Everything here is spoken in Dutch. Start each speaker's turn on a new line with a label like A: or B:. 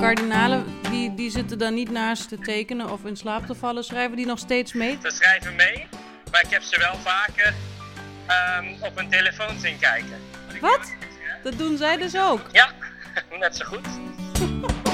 A: kardinalen, die, die zitten dan niet naast te tekenen of in slaap te vallen. Schrijven die nog steeds mee?
B: Ze schrijven mee, maar ik heb ze wel vaker ehm, op hun telefoon zien kijken.
A: Wat? Dat doen zij dus ook.
B: Ja, net zo goed.